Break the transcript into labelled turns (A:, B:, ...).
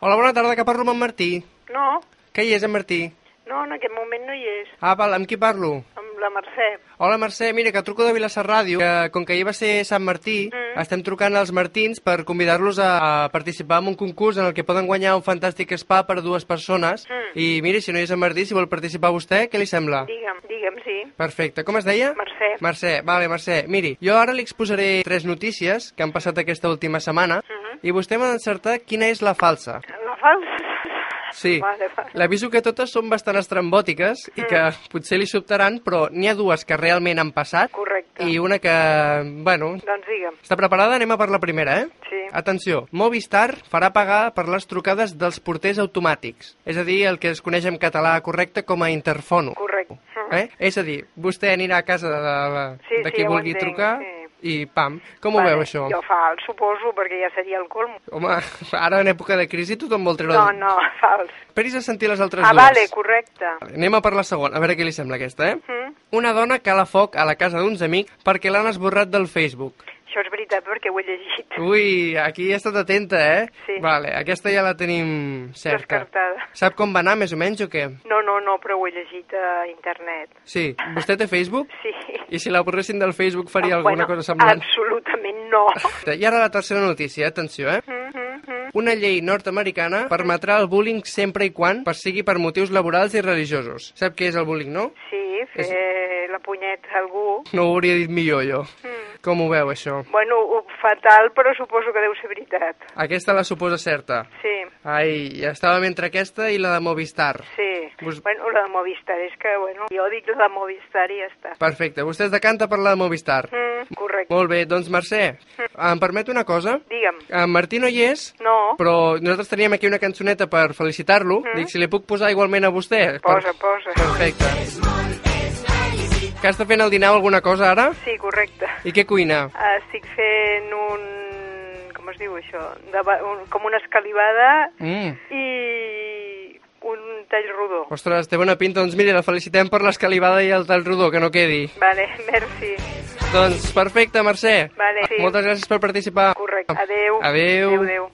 A: Hola, bona tarda, que parlo amb en Martí.
B: No,
A: Que hi és, en Martí?
B: no, en aquest moment no hi és,
A: Ah, val, amb qui parlo?
B: amb la Mercè.
A: Hola, Mercè, mira, que truco de Vilassar Ràdio, que com que ahir va ser Sant Martí, mm. estem trucant als Martins per convidar-los a, a participar en un concurs en el que poden guanyar un fantàstic spa per dues persones. Mm. I mira, si no hi és en Martí, si vol participar vostè, què li sembla?
B: Digue'm, digue'm, sí.
A: Perfecte. Com es deia?
B: Mercè.
A: Mercè, vale, Mercè. Miri, jo ara li exposaré tres notícies que han passat aquesta última setmana i vostè m'ha d'encertar quina és la falsa.
B: La falsa?
A: Sí,
B: Vale, vale. Mm.
A: l'aviso que totes són bastant estrambòtiques i que potser li sobtaran, però n'hi ha dues que realment han passat
B: Correcte.
A: i una que, bueno...
B: Doncs digue'm,
A: Està preparada? Anem a per la primera, eh?
B: sí.
A: Atenció, Movistar farà pagar per les trucades dels porters automàtics, és a dir, el que es coneix en català correcte com a interfono.
B: Correcte.
A: Eh? És a dir, vostè anirà a casa de, de,
B: Sí, sí,
A: de qui
B: ja ho
A: vulgui
B: entenc,
A: trucar
B: sí.
A: i pam. Com ho veu, això?
B: Jo fals, suposo, perquè ja seria el colmo.
A: Home, ara en època de crisi tothom vol treure...
B: No, no, fals.
A: Esperis a sentir les altres
B: Ah,
A: dues.
B: vale, correcte.
A: Vale, Anem a per la segona, a veure què li sembla aquesta, eh?
B: Mm.
A: Una dona cala foc a la casa d'uns amics perquè l'han esborrat del Facebook.
B: Això és veritat perquè ho he llegit.
A: Uh, Ui, aquí he estat atenta, eh?
B: Sí.
A: Vale, aquesta ja la tenim certa.
B: Descartada.
A: Sap com va anar, més o menys, o què?
B: No, no, no, però ho he llegit a internet.
A: Sí, vostè té Facebook?
B: Sí.
A: I si la borressin del Facebook faria alguna
B: Ah, bueno,
A: cosa semblant?
B: Absolutament no. Hm,
A: I ara la tercera notícia, atenció, eh?
B: Mhm.
A: Una llei nord-americana permetrà el bullying sempre i quan per sigui per motius laborals i religiosos. Sap què és el bullying, no?
B: Sí, fer la punyeta a algú.
A: No ho hauria dit millor jo.
B: Mhm.
A: Com ho veu, això?
B: Bueno, ho- fatal, però suposo que deu ser veritat.
A: Aquesta la suposa certa.
B: Sí,
A: Ai, ja estàvem entre aquesta i la de Movistar.
B: sí.
A: Vos-
B: Bueno, la de Movistar és que, bueno, jo dic la de Movistar i ja està.
A: Perfecte, vostè es decanta per la de Movistar.
B: Mm, correcte.
A: Molt bé, doncs Mercè, em permet una cosa?
B: Digue'm.
A: En Martí no hi és,
B: No,
A: però nosaltres teníem aquí una cançoneta per felicitar-lo. Dic, si li puc posar igualment a vostè.
B: Mm-hmm. posa, posa.
A: Perfecte. Que està fent el dinar o alguna cosa ara?
B: Sí, correcte.
A: I què cuina?
B: Estic fent un... com es diu això? De, ba- un, com una escalivada
A: Mm.
B: i un tall rodó.
A: Ostres, té bona pinta. Doncs mira, la felicitem per l'escalivada i el tal rodó, que no quedi.
B: Vale, merci.
A: Doncs perfecte, Mercè.
B: Vale, sí.
A: Moltes gràcies per participar.
B: Correcte. Adeu.
A: Adeu.
B: Adeu, adeu.